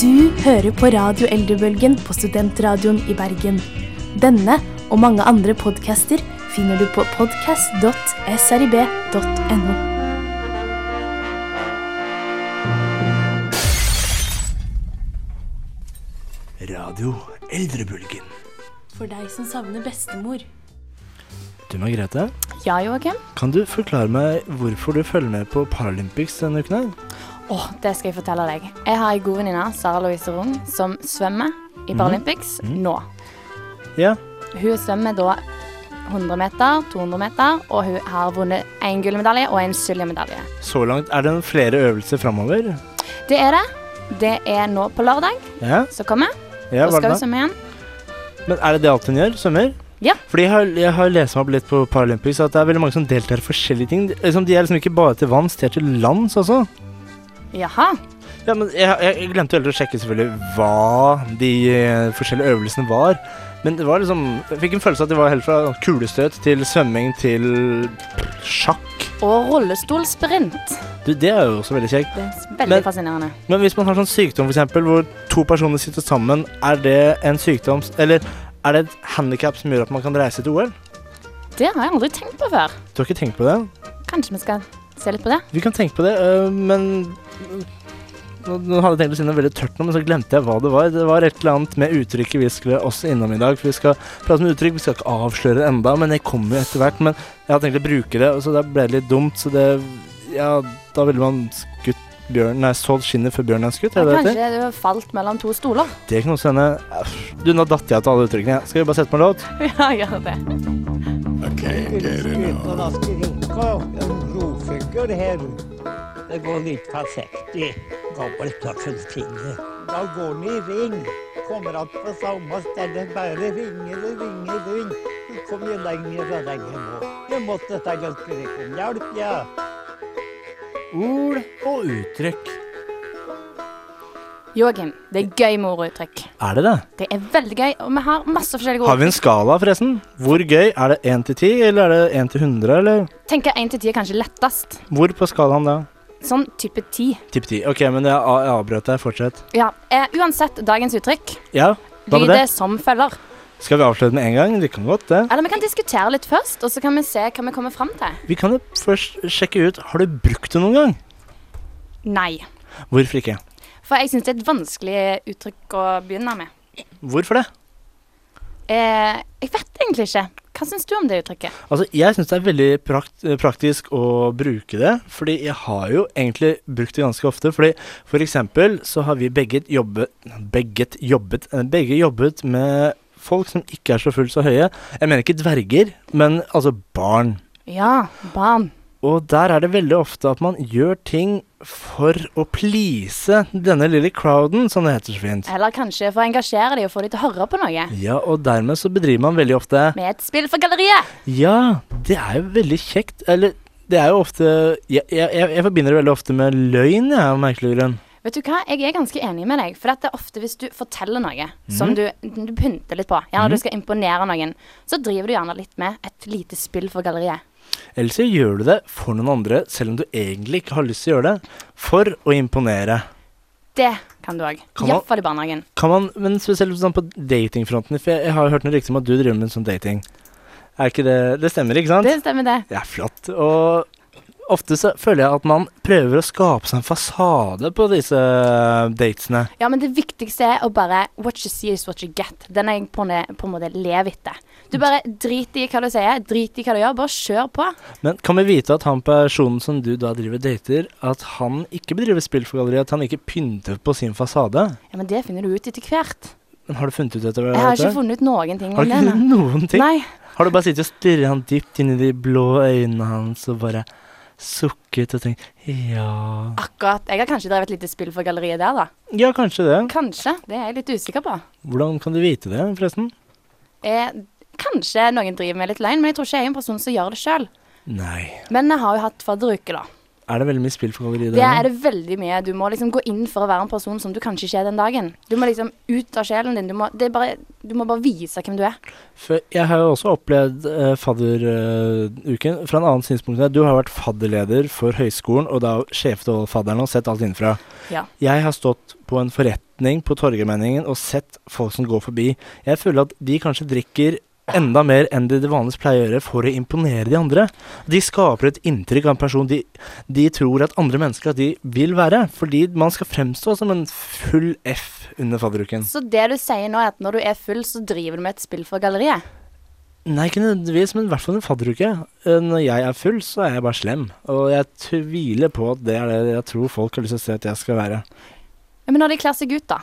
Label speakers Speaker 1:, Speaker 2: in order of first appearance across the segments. Speaker 1: Du hører på Radio Eldrebølgen på Studentradioen i Bergen. Denne og mange andre podcaster finner du på podcast.srib.no.
Speaker 2: Radio Eldrebølgen.
Speaker 1: For deg som savner bestemor.
Speaker 2: Du Margrethe,
Speaker 3: Ja, Joakim.
Speaker 2: kan du forklare meg hvorfor du følger med på Paralympics denne uken her?
Speaker 3: Åh, det skal jeg fortelle deg. Jeg har ei god venninne, Sara Louise Rung, som svømmer
Speaker 2: Mhm.
Speaker 3: i Paralympics nå.
Speaker 2: Ja,
Speaker 3: Hun svømmer da 100 meter, 200 meter, og hun har vunnet én gullmedalje og en sølvmedalje.
Speaker 2: så langt er det flere øvelser framover.
Speaker 3: Det er det. Det er nå på lørdag
Speaker 2: Ja,
Speaker 3: som kommer.
Speaker 2: ja,
Speaker 3: da
Speaker 2: var
Speaker 3: skal
Speaker 2: det
Speaker 3: hun
Speaker 2: da?
Speaker 3: svømme igjen.
Speaker 2: Men er det det alt hun gjør? Svømmer?
Speaker 3: Ja.
Speaker 2: Fordi jeg har, jeg har lest meg opp litt på Paralympics, at det er veldig mange som deltar i forskjellige ting. De- Liksom, de er liksom ikke bare til vanns, de er til lands også.
Speaker 3: Jaha.
Speaker 2: Ja, men jeg, jeg, jeg glemte jo helt å sjekke selvfølgelig hva de eh, forskjellige øvelsene var. Men det var liksom Jeg fikk en følelse av at det var helt fra kulestøt til svømming til sjakk.
Speaker 3: Og rullestolsprint.
Speaker 2: Du, det er jo også veldig kjekt.
Speaker 3: Det er veldig
Speaker 2: Men-
Speaker 3: fascinerende.
Speaker 2: Men hvis man har sånn sykdom for eksempel, hvor to personer sitter sammen, er det en sykdom Eller er det et handikap som gjør at man kan reise til OL?
Speaker 3: Det har jeg aldri tenkt på før.
Speaker 2: Du har ikke tenkt på det?
Speaker 3: Kanskje vi skal se litt på det?
Speaker 2: Vi kan tenke på det, øh, men nå, nå hadde jeg tenkt å si noe veldig tørt nå, men så glemte jeg hva det var. Det var et eller annet med uttrykket vi skulle også innom i dag. For vi skal prate om uttrykk, vi skal ikke avsløre det enda, men det kommer jo etter hvert. Men jeg hadde tenkt å bruke det, og så da ble det litt dumt, så det Ja, da ville man skutt bjørn Nei, solgt skinnet før bjørnen er skutt, er det det heter?
Speaker 3: Kanskje du har falt mellom to stoler?
Speaker 2: Det kan også hende. Æsj. Du, nå datt jeg av til alle uttrykkene. jeg. Skal vi bare sette på en låt?
Speaker 3: ja, gjør det.
Speaker 4: I can't get enough.
Speaker 5: Uten at de runker en rofigur her. Det går litt på 60 gammelt av kultinget. Da går den i ring. Kommer att på samme sted. Bare ringer og ringer og ringer. Du kommer lenger og lenger nå. Jeg måtte ta en skrik om hjelp, ja.
Speaker 6: Ord og uttrykk.
Speaker 3: Joakim, det er gøy med orduttrykk.
Speaker 2: Er det det?
Speaker 3: Det er veldig gøy, og vi har masse forskjellige
Speaker 2: Har
Speaker 3: ord.
Speaker 2: vi en skala, forresten? Hvor gøy? Er det 1 til 10, eller er det 1 til 100, eller?
Speaker 3: Tenker 1 til 10 er kanskje lettest.
Speaker 2: Hvor på skalaen da?
Speaker 3: Sånn type 10.
Speaker 2: Tipp 10. Ok, men jeg, a- jeg avbrøt deg. Fortsett.
Speaker 3: Ja, eh, uansett, dagens uttrykk
Speaker 2: Ja, hva med det?
Speaker 3: lyder som følger.
Speaker 2: Skal vi avsløre det med en gang? Vi kan godt det.
Speaker 3: Eller vi kan diskutere litt først, og så kan vi se hva vi kommer fram til.
Speaker 2: Vi kan jo først sjekke ut Har du brukt det noen gang.
Speaker 3: Nei.
Speaker 2: Hvorfor ikke?
Speaker 3: For jeg syns det er et vanskelig uttrykk å begynne med.
Speaker 2: Hvorfor det?
Speaker 3: Eh, jeg vet egentlig ikke. Hva syns du om det uttrykket?
Speaker 2: Altså, Jeg syns det er veldig prakt praktisk å bruke det. Fordi jeg har jo egentlig brukt det ganske ofte. Fordi For eksempel så har vi begge jobbet Begget jobbet eh, Begge jobbet med folk som ikke er så fullt så høye. Jeg mener ikke dverger, men altså barn.
Speaker 3: Ja, barn.
Speaker 2: Og der er det veldig ofte at man gjør ting for å please denne lille crowden, som det heter så fint.
Speaker 3: Eller kanskje for å engasjere dem og få dem til å høre på noe.
Speaker 2: Ja, og dermed så bedriver man veldig ofte
Speaker 3: Med et spill for galleriet.
Speaker 2: Ja, det er jo veldig kjekt. Eller det er jo ofte Jeg, jeg, jeg jeg forbinder det veldig ofte med løgn, jeg, av merkelig grunn.
Speaker 3: Vet du hva, jeg er ganske enig med deg, for det er ofte hvis du forteller noe
Speaker 2: Mhm.
Speaker 3: som du, du pynter litt på, gjerne du skal imponere noen, så driver du gjerne litt med et lite spill for galleriet.
Speaker 2: Ellers så gjør du det for noen andre, selv om du egentlig ikke har lyst til å gjøre det. For å imponere.
Speaker 3: Det kan du òg.
Speaker 2: Kan man-
Speaker 3: Iallfall i barnehagen.
Speaker 2: Kan man, men spesielt sånn på datingfronten, for jeg, jeg har jo hørt noe rykter om at du driver med sånn dating. Er ikke det Det stemmer, ikke sant?
Speaker 3: Det stemmer, det.
Speaker 2: Det er flott. Og ofte så føler jeg at man prøver å skape seg en fasade på disse eh, datene.
Speaker 3: Ja, men det viktigste er å bare What you see is what you get. Den er jeg på, en- på en måte lever etter. Du bare drit i hva du sier, drit i hva du gjør, bare kjør på.
Speaker 2: Men kan vi vite at han personen som du da driver dater, at han ikke bedriver spill for galleriet? At han ikke pynter på sin fasade?
Speaker 3: Ja, Men det finner du ut etter hvert.
Speaker 2: Men har du funnet ut etter
Speaker 3: Jeg har ikke funnet ut noen ting
Speaker 2: Har
Speaker 3: om
Speaker 2: du
Speaker 3: det.
Speaker 2: ikke
Speaker 3: nei.
Speaker 2: funnet noen ting?
Speaker 3: Nei.
Speaker 2: Har du bare sittet og stirret han dypt inn i de blå øynene hans og bare sukket og tenkt ja
Speaker 3: Akkurat. Jeg har kanskje drevet et lite spill for galleriet der, da.
Speaker 2: Ja, kanskje det.
Speaker 3: Kanskje. Det er jeg litt usikker på.
Speaker 2: Hvordan kan du vite det, forresten?
Speaker 3: Eh, kanskje noen driver med litt løgn, men jeg tror ikke jeg er en person som gjør det sjøl.
Speaker 2: Nei.
Speaker 3: Men jeg har jo hatt fadderuke, da.
Speaker 2: Er det veldig mye spill for galleriet?
Speaker 3: Det
Speaker 2: der nå?
Speaker 3: er det veldig mye. Du må liksom gå inn for å være en person som du kanskje ikke er den dagen. Du må liksom ut av sjelen din. Du må, det er bare, du må bare vise hvem du er.
Speaker 2: For jeg har jo også opplevd eh, fadderuken fra en annen synspunkt. enn deg. Du har jo vært fadderleder for høyskolen og da sjefet over fadderen og sett alt innenfra.
Speaker 3: Ja.
Speaker 2: Jeg har stått på en forret, setning på Torgallmenningen og sett folk som går forbi. Jeg føler at de kanskje drikker enda mer enn de, de vanligvis pleier å gjøre for å imponere de andre. De skaper et inntrykk av en person de, de tror at andre mennesker at de vil være, fordi man skal fremstå som en full F under fadderuken.
Speaker 3: Så det du sier nå, er at når du er full, så driver du med et spill for galleriet?
Speaker 2: Nei, ikke nødvendigvis, men i hvert fall en fadderuke. Eh, Når jeg er full, så er jeg bare slem. Og jeg tviler på at det er det jeg tror folk har lyst til å se at jeg skal være.
Speaker 3: Ja, Men når de kler seg ut, da?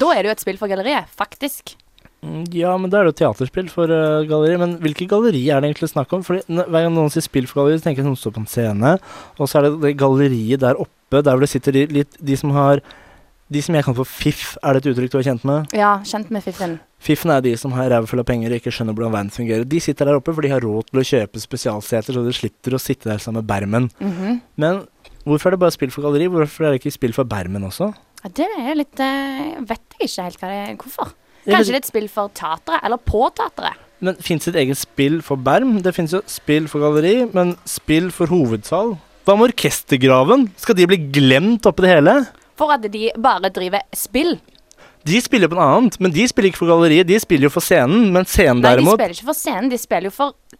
Speaker 3: Da er det jo et spill for galleriet, faktisk.
Speaker 2: Mm, Ja, men da er det jo teaterspill for eh, galleri. Men hvilke galleri er det egentlig snakk om? Fordi n- Hver gang noen sier spill for galleri, så tenker jeg at noen står på en scene, og så er det det galleriet der oppe, der hvor det sitter de, litt, de som har De som jeg kan få fiff, er det et uttrykk du er kjent med?
Speaker 3: Ja, kjent med fiffen.
Speaker 2: Fiffen er de som har ræva full av penger og ikke skjønner hvordan verden fungerer. De sitter der oppe, for de har råd til å kjøpe spesialseter, så de slipper å sitte der sammen med bermen.
Speaker 3: Mhm.
Speaker 2: Men hvorfor er det bare spill for galleri? Hvorfor er det ikke spill for bermen også?
Speaker 3: Ja, det er litt eh, Vet jeg ikke helt hva det er. Hvorfor?
Speaker 2: Jeg
Speaker 3: Kanskje
Speaker 2: vet-
Speaker 3: det er et spill for teatret? Eller på teatret?
Speaker 2: Men fins det et eget spill for berm? Det fins jo spill for galleri, men spill for hovedsal? Hva med orkestergraven? Skal de bli glemt oppi det hele?
Speaker 3: For at de bare driver spill.
Speaker 2: De spiller jo på noe annet, men de spiller ikke for galleriet, de spiller jo for scenen. Men scenen
Speaker 3: Nei, de
Speaker 2: derimot
Speaker 3: spiller ikke for scenen, de spiller jo for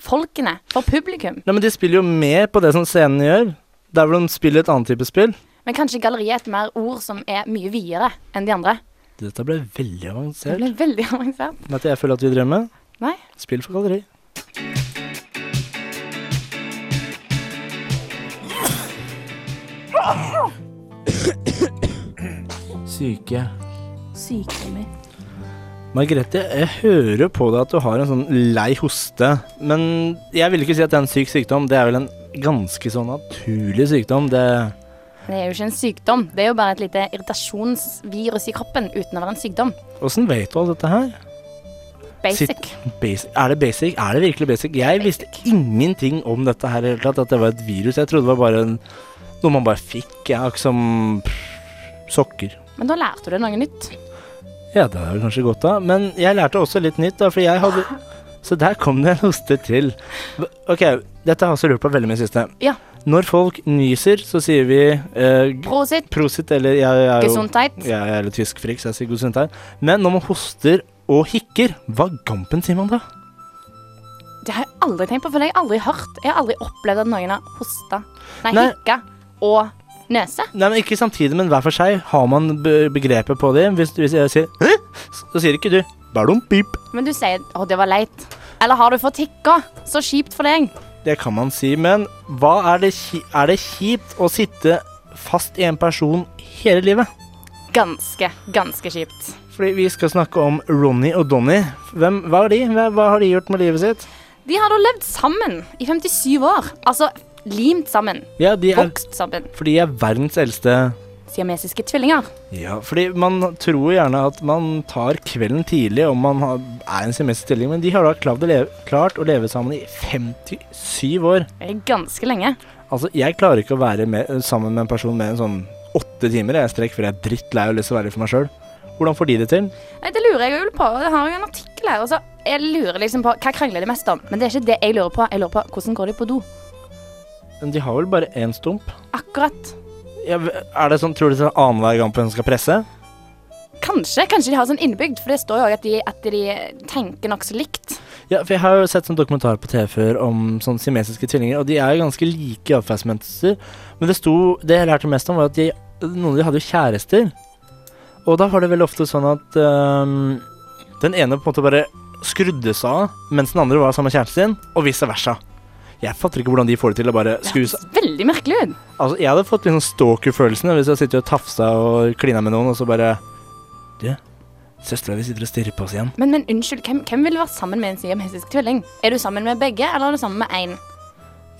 Speaker 3: folkene. For publikum.
Speaker 2: Nei, men de spiller jo med på det som scenen gjør. Der hvor de spiller et annet type spill.
Speaker 3: Men kanskje galleriet er et mer ord som er mye videre enn de andre.
Speaker 2: Dette ble veldig
Speaker 3: Det
Speaker 2: avansert.
Speaker 3: ble veldig avansert.
Speaker 2: Vet du hva jeg føler at vi drømmer?
Speaker 3: Nei.
Speaker 2: Spill for galleri.
Speaker 6: Syke.
Speaker 1: Sykdommer.
Speaker 2: Margrethe, jeg hører på deg at du har en sånn lei hoste, men jeg vil ikke si at det er en syk sykdom. Det er vel en ganske sånn naturlig sykdom. Det
Speaker 3: Det er jo ikke en sykdom. Det er jo bare et lite irritasjonsvirus i kroppen uten å være en sykdom.
Speaker 2: Åssen vet du alt dette her?
Speaker 3: Basic.
Speaker 2: Basic. Er det basic? Er det virkelig basic? Jeg visste ingenting om dette her i det hele tatt, at det var et virus. Jeg trodde det var bare en, noe man bare fikk, ja, ikke som pff, sokker.
Speaker 3: Men da lærte du noe nytt.
Speaker 2: Ja, det er vel kanskje godt da, men jeg lærte også litt nytt da, for jeg hadde... Så der kom det en hoste til. V- Ok, dette har jeg også lurt på veldig mye i det siste.
Speaker 3: Ja.
Speaker 2: Når folk nyser, så sier vi eh, g-
Speaker 3: Prosit.
Speaker 2: prosit, eller jeg, jeg er jo...
Speaker 3: Gesundheit.
Speaker 2: Jeg er litt tysk frik, så jeg sier god sundtegn. Men når man hoster og hikker, hva gampen sier man da?
Speaker 3: Det har jeg aldri tenkt på, for det har jeg aldri hørt. Jeg har aldri opplevd at noen har hosta, nei,
Speaker 2: Nei.
Speaker 3: hikka og nøse.
Speaker 2: Nei, men ikke samtidig, men hver for seg har man be- begrepet på det. Hvis, hvis jeg sier, Hæ? så sier ikke du, ballom pip.
Speaker 3: Men du sier 'å, det var leit'. Eller 'har du fått hikka'? Så kjipt for deg.
Speaker 2: Det kan man si, men hva er det, ki- er det kjipt å sitte fast i en person hele livet?
Speaker 3: Ganske, ganske kjipt.
Speaker 2: Fordi vi skal snakke om Ronny og Donny. Hvem, hva, er de? Hva, hva har de gjort med livet sitt?
Speaker 3: De har da levd sammen i 57 år. Altså limt sammen.
Speaker 2: Ja, de er,
Speaker 3: Vokst sammen.
Speaker 2: for de er verdens eldste
Speaker 3: Siamesiske tvillinger.
Speaker 2: Ja, fordi man tror gjerne at man tar kvelden tidlig om man har, er i en semesterstilling, men de har da klart å, leve, klart å leve sammen i 57 år.
Speaker 3: Det er Ganske lenge.
Speaker 2: Altså, jeg klarer ikke å være med, sammen med en person mer enn sånn åtte timer. Jeg strekker for jeg er drittlei og har lyst til å være for meg sjøl. Hvordan får de det til?
Speaker 3: Nei, Det lurer jeg jo på. Jeg har jo en artikkel her. og så jeg lurer liksom på, Hva krangler de mest om? Men det er ikke det jeg lurer på. Jeg lurer på Hvordan går de på do?
Speaker 2: Men de har vel bare én stump?
Speaker 3: Akkurat.
Speaker 2: Ja, v- er det sånn, Tror du det er annenhver gang på hun skal presse?
Speaker 3: Kanskje kanskje de har sånn innebygd, for det står jo også at de, at de tenker nokså likt.
Speaker 2: Ja, for jeg har jo sett sånn dokumentar på TV før om sånn simesiske tvillinger, og de er jo ganske like i atferdsmønster. Men det sto Det jeg lærte mest om, var at de, noen av de hadde jo kjærester. Og da var det veldig ofte sånn at øhm, den ene på en måte bare skrudde seg av mens den andre var sammen med kjæresten sin, og vice versa. Jeg fatter ikke hvordan de får det til å bare
Speaker 3: Det
Speaker 2: skru seg
Speaker 3: høres veldig merkelig ut.
Speaker 2: Altså, jeg hadde fått litt sånn stalker-følelsen hvis jeg sitter og tafsa og klina med noen, og så bare Du, søstera di sitter og stirrer på oss igjen.
Speaker 3: Men, men unnskyld, hvem, hvem vil være sammen med en siamesisk tvilling? Er du sammen med begge, eller er du sammen med én?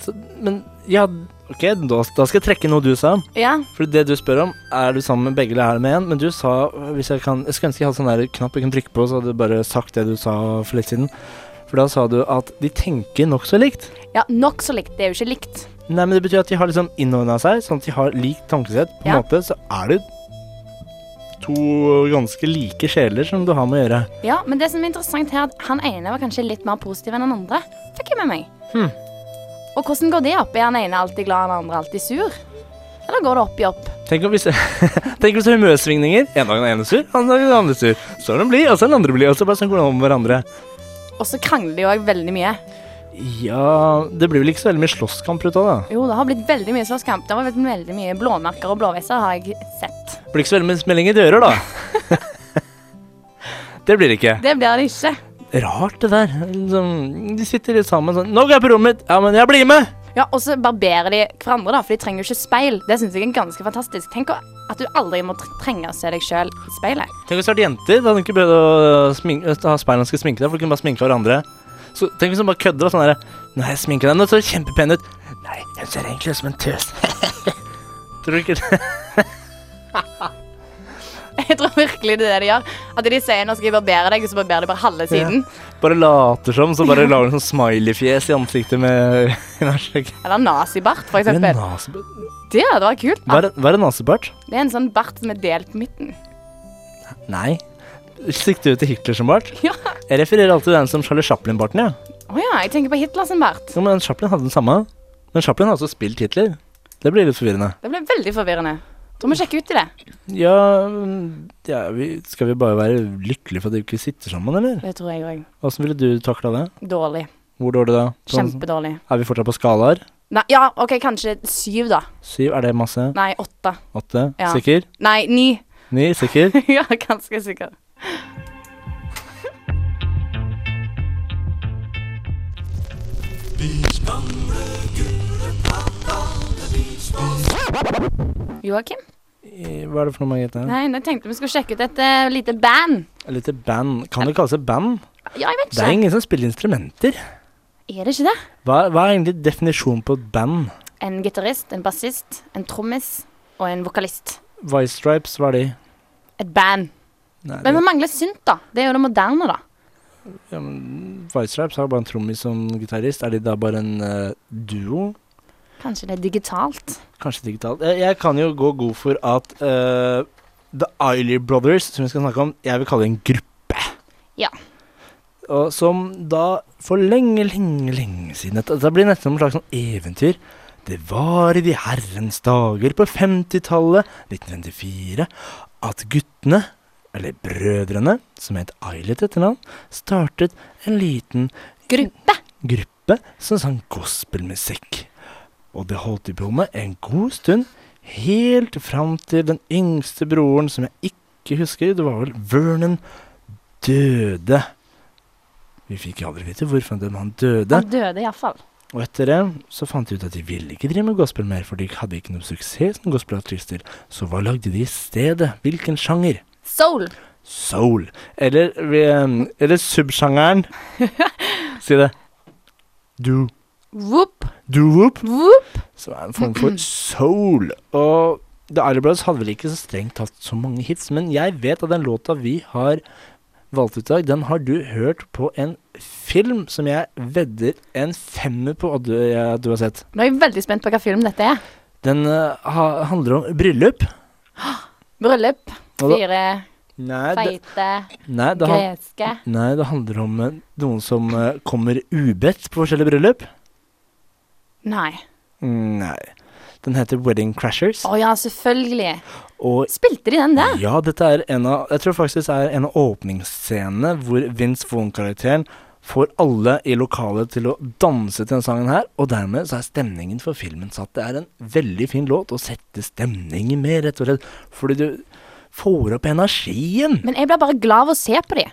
Speaker 2: Så, men ja, OK, da, da skal jeg trekke noe du sa.
Speaker 3: Ja,
Speaker 2: For det du spør om, er du sammen med begge eller er det med én? Men du sa hvis jeg, kan, jeg skulle ønske jeg hadde sånn der knapp jeg kunne trykke på, så hadde du bare sagt det du sa for litt siden. For da sa du at de tenker nokså likt.
Speaker 3: ja nokså likt. Det er jo ikke likt.
Speaker 2: Nei, men det betyr at de har liksom innordna seg, sånn at de har likt tankesett. På en
Speaker 3: Ja.
Speaker 2: måte så er det to ganske like sjeler som du har med å gjøre.
Speaker 3: Ja, Men det som er interessant her, er at han ene var kanskje litt mer positiv enn den andre. Fikk jeg med meg.
Speaker 2: Hmm.
Speaker 3: Og hvordan går det opp? Er han ene alltid glad, han andre alltid sur? Eller går det opp i opp?
Speaker 2: Tenk om vi ser, tenk om vi ser humørsvingninger. En dag er den ene sur, andre dag er den andre sur. Så er den blid, og så er den andre blid. Og så bare sånn går det om hverandre.
Speaker 3: Og så krangler de òg veldig mye.
Speaker 2: Ja Det blir vel ikke så veldig mye slåsskamp ut av det.
Speaker 3: Jo, det har blitt veldig mye slåsskamp. Det har vært veldig mye blåmerker og blåveiser har jeg sett.
Speaker 2: Det blir ikke så veldig mye smelling i dører, da. det blir det ikke.
Speaker 3: Det blir det ikke.
Speaker 2: Rart, det der. Liksom, de sitter litt sammen sånn 'Nå går jeg på rommet mitt!' 'Ja, men jeg blir med!'
Speaker 3: Ja, Og så barberer de hverandre, da, for de trenger jo ikke speil. Det syns jeg er ganske fantastisk. Tenk å- at du aldri må tr- trenge å se deg sjøl i speilet.
Speaker 2: Tenk hvis det hadde vært jenter. Da hadde de ikke behøvd å smink- å ha speilene skal sminke deg, for de kunne bare sminke hverandre. Så Tenk hvis de bare kødder og sånn derre 'Nei, jeg sminker deg. Nå ser du kjempepen ut.' 'Nei, hun ser egentlig ut som en tøs.' Tror du ikke det?
Speaker 3: Jeg tror virkelig det er det de gjør. At de sier 'nå skal jeg barbere deg', og så barberer de bare halve siden.
Speaker 2: Bare later som, så bare lager du sånn smileyfjes i ansiktet med
Speaker 3: Eller nazibart, for
Speaker 2: Hva
Speaker 3: eksempel. Det hadde vært kult. da.
Speaker 2: er- hva er en nasebart?
Speaker 3: Det er en sånn bart som er delt på midten.
Speaker 2: Nei. Sikter du til Hitler som bart?
Speaker 3: Ja.
Speaker 2: Jeg refererer alltid den som Charlie Chaplin-barten, ja.
Speaker 3: Å ja, jeg tenker på Hitler sin bart.
Speaker 2: Jo, men Chaplin hadde den samme. Men Chaplin har også spilt Hitler. Det blir litt forvirrende.
Speaker 3: Det ble veldig forvirrende. Du må sjekke ut i det.
Speaker 2: Ja, mm, ja vi, Skal vi bare være lykkelige for at vi ikke sitter sammen, eller?
Speaker 3: Det tror jeg òg.
Speaker 2: Åssen ville du takla det?
Speaker 3: Dårlig.
Speaker 2: Hvor dårlig da? Sånn-
Speaker 3: Kjempedårlig.
Speaker 2: Er vi fortsatt på skalaer?
Speaker 3: Nei, ja, OK, kanskje syv, da.
Speaker 2: Syv, er det masse?
Speaker 3: Nei, åtte.
Speaker 2: Åtte?
Speaker 3: Ja.
Speaker 2: Sikker?
Speaker 3: Nei, ni.
Speaker 2: Ni? Sikker?
Speaker 3: ja, ganske sikker. Joakim?
Speaker 2: I- Hva er det for noe, Margrethe?
Speaker 3: Nei, jeg tenkte vi skulle sjekke ut et eh, lite band.
Speaker 2: Et lite band. Kan det kalles et band?
Speaker 3: Ja, jeg vet
Speaker 2: Det er
Speaker 3: ikke.
Speaker 2: ingen som spiller instrumenter.
Speaker 3: Er det ikke det?
Speaker 2: Hva, hva er egentlig definisjonen på et band?
Speaker 3: En gitarist, en bassist, en trommis og en vokalist.
Speaker 2: Vice Stripes, hva er de?
Speaker 3: Et band.
Speaker 2: Nei, det,
Speaker 3: Men vi mangler synt, da. Det er jo det moderne, da.
Speaker 2: ja, men Vice Stripes har jo bare en trommis som gitarist. Er de da bare en eh, duo?
Speaker 3: Kanskje det er digitalt.
Speaker 2: Kanskje digitalt. Jeg, jeg kan jo gå god for at eh, The Eiley Brothers, som vi skal snakke om, jeg vil kalle det en gruppe.
Speaker 3: Ja.
Speaker 2: Og som da for lenge, lenge, lenge siden Dette, dette blir nesten som et slags sånn eventyr. Det var i de herrens dager på 50-tallet, 1954, at guttene, eller brødrene, som het Eiley til etternavn, startet en liten
Speaker 3: Gruppe.
Speaker 2: gruppe som sang gospelmusikk. Og det holdt de på med en god stund, helt fram til den yngste broren, som jeg ikke husker, det var vel Vernon, døde. Vi fikk aldri vite hvorfor han døde, men han døde.
Speaker 3: Han døde iallfall.
Speaker 2: Og etter det så fant de ut at de ville ikke drive med gospel mer, for de hadde ikke noe suksess som gospelartister. Så hva lagde de i stedet? Hvilken sjanger?
Speaker 3: Soul.
Speaker 2: Soul. Eller, eh, eller subsjangeren Si det. Do.
Speaker 3: Whoop,
Speaker 2: Doo-wop,
Speaker 3: whoop.
Speaker 2: som er en form for soul. Og The Isle Brothers hadde vel ikke så strengt tatt så mange hits, men jeg vet at den låta vi har valgt ut i dag, den har du hørt på en film som jeg vedder en femmer på at du, ja, du har sett.
Speaker 3: Nå er jeg veldig spent på hva film dette er.
Speaker 2: Den eh, ha, handler om bryllup.
Speaker 3: Bryllup.
Speaker 2: Og da-
Speaker 3: Fire
Speaker 2: Nei, det,
Speaker 3: feite
Speaker 2: nei, det, han,
Speaker 3: greske
Speaker 2: nei, det handler om eh, noen som eh, kommer ubedt på forskjellige bryllup.
Speaker 3: Nei.
Speaker 2: Nei. Den heter Wedding Crashers.
Speaker 3: Å ja, selvfølgelig.
Speaker 2: Og
Speaker 3: Spilte de den der?
Speaker 2: Ja, dette er en av Jeg tror faktisk det er en av åpningsscenene hvor Vince Vaughn-karakteren får alle i lokalet til å danse til denne sangen her, og dermed så er stemningen for filmen satt. Det er en veldig fin låt å sette stemningen med, rett og slett, fordi du får opp energien.
Speaker 3: Men jeg blir bare glad av å se på de.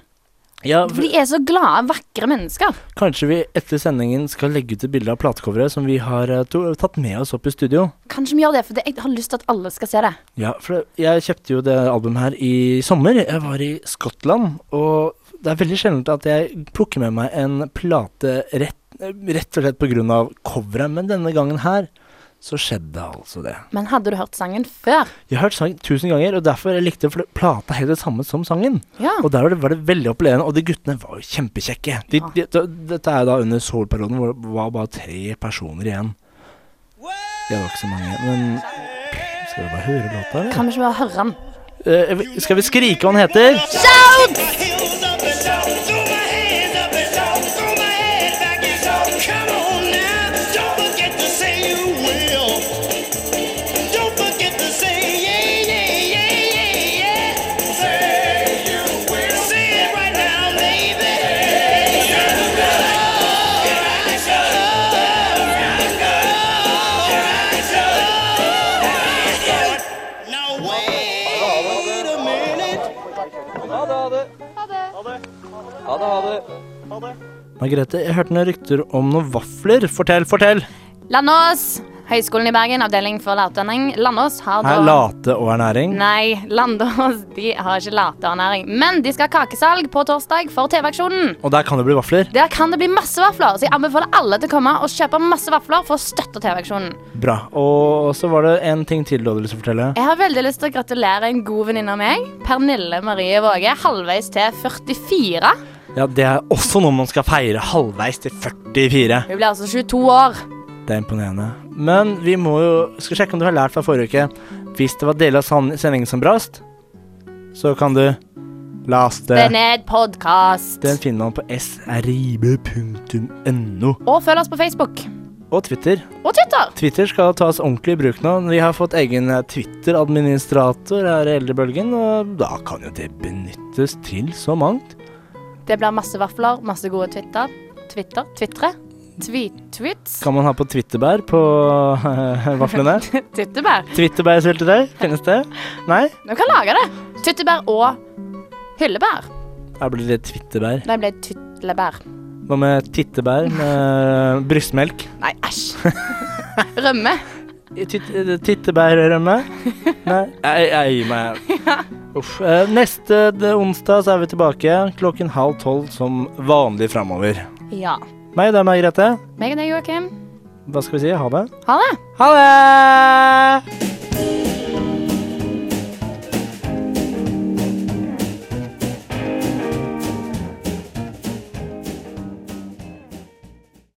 Speaker 2: Ja,
Speaker 3: For de er så glade, vakre mennesker.
Speaker 2: kanskje vi etter sendingen skal legge ut et bilde av platecoveret som vi har eh, to, tatt med oss opp i studio.
Speaker 3: Kanskje vi gjør det, for det, jeg har lyst til at alle skal se det.
Speaker 2: Ja, for det- jeg kjøpte jo det albumet her i sommer. Jeg var i Skottland, og det er veldig sjelden at jeg plukker med meg en plate rett, rett og slett pga. coveret, men denne gangen her så skjedde altså det.
Speaker 3: Men hadde du hørt sangen før?
Speaker 2: Jeg har hørt sangen tusen ganger, og derfor jeg likte jeg for det- plata helt det samme som sangen.
Speaker 3: Ja.
Speaker 2: Og der var det, var det veldig opplevende, og de guttene var jo kjempekjekke. De, de, da- dette er da under Soul-perioden, hvor det var bare tre personer igjen. Det var ikke så mange, men Skal vi bare høre låta, eller?
Speaker 3: Kan vi ikke bare høre den?
Speaker 2: Eh, skal vi skrike hva han heter?
Speaker 7: Don't forget to say you will. Don't forget to say yeah.
Speaker 2: Margrethe, jeg hørte noen rykter om noen vafler. Fortell, fortell!
Speaker 3: Landås! Høgskolen i Bergen, avdeling for lærerutdanning. Landås har da
Speaker 2: Er late og ernæring?
Speaker 3: Nei, Landås de har ikke laterernæring. Men de skal ha kakesalg på torsdag for TV-aksjonen.
Speaker 2: Og der kan det bli vafler?
Speaker 3: Der kan det bli masse vafler, så jeg anbefaler alle til å komme og kjøpe masse vafler for å støtte TV-aksjonen.
Speaker 2: Bra. Og så var det en ting til du hadde lyst til å fortelle.
Speaker 3: Jeg har veldig lyst til å gratulere en god venninne av meg, Pernille Marie Våge, halvveis til 44.
Speaker 2: Ja, det er også noe man skal feire halvveis til 44.
Speaker 3: Hun blir altså 22 år.
Speaker 2: Det er imponerende. Men vi må jo skal sjekke om du har lært fra forrige uke. Hvis det var deler av san- sendingen som brast, så kan du laste
Speaker 3: Det er ned podkast.
Speaker 2: Den finner man på srib.no.
Speaker 3: Og følg oss på Facebook.
Speaker 2: Og Twitter.
Speaker 3: Og Twitter.
Speaker 2: Twitter skal tas ordentlig i bruk nå. Vi har fått egen eh, Twitter-administrator her i Eldrebølgen, og da kan jo det benyttes til så mangt.
Speaker 3: Det blir masse vafler, masse gode Twitter. Twitter. Twitre. Tweet-tweets.
Speaker 2: Kan man ha på Twitterbær på vaflene?
Speaker 3: Tyttebær.
Speaker 2: Twitterbærsyltetøy, finnes det? Nei?
Speaker 3: Du kan lage det. Tyttebær og hyllebær.
Speaker 2: Her blir det Twitterbær.
Speaker 3: Nei, det ble tytlebær.
Speaker 2: Hva med tittebær med brystmelk?
Speaker 3: Nei, æsj. Rømme.
Speaker 2: Titt- eh, Tittebærrømme? Nei, jeg, jeg gir meg. Uff. Eh, Neste d- onsdag så er vi tilbake klokken halv tolv som vanlig framover.
Speaker 3: Ja.
Speaker 2: Meg, det er Margrethe.
Speaker 3: Meg og deg, Joakim.
Speaker 2: Hva skal vi si? Ha det?
Speaker 3: Ha det.
Speaker 2: Ha det!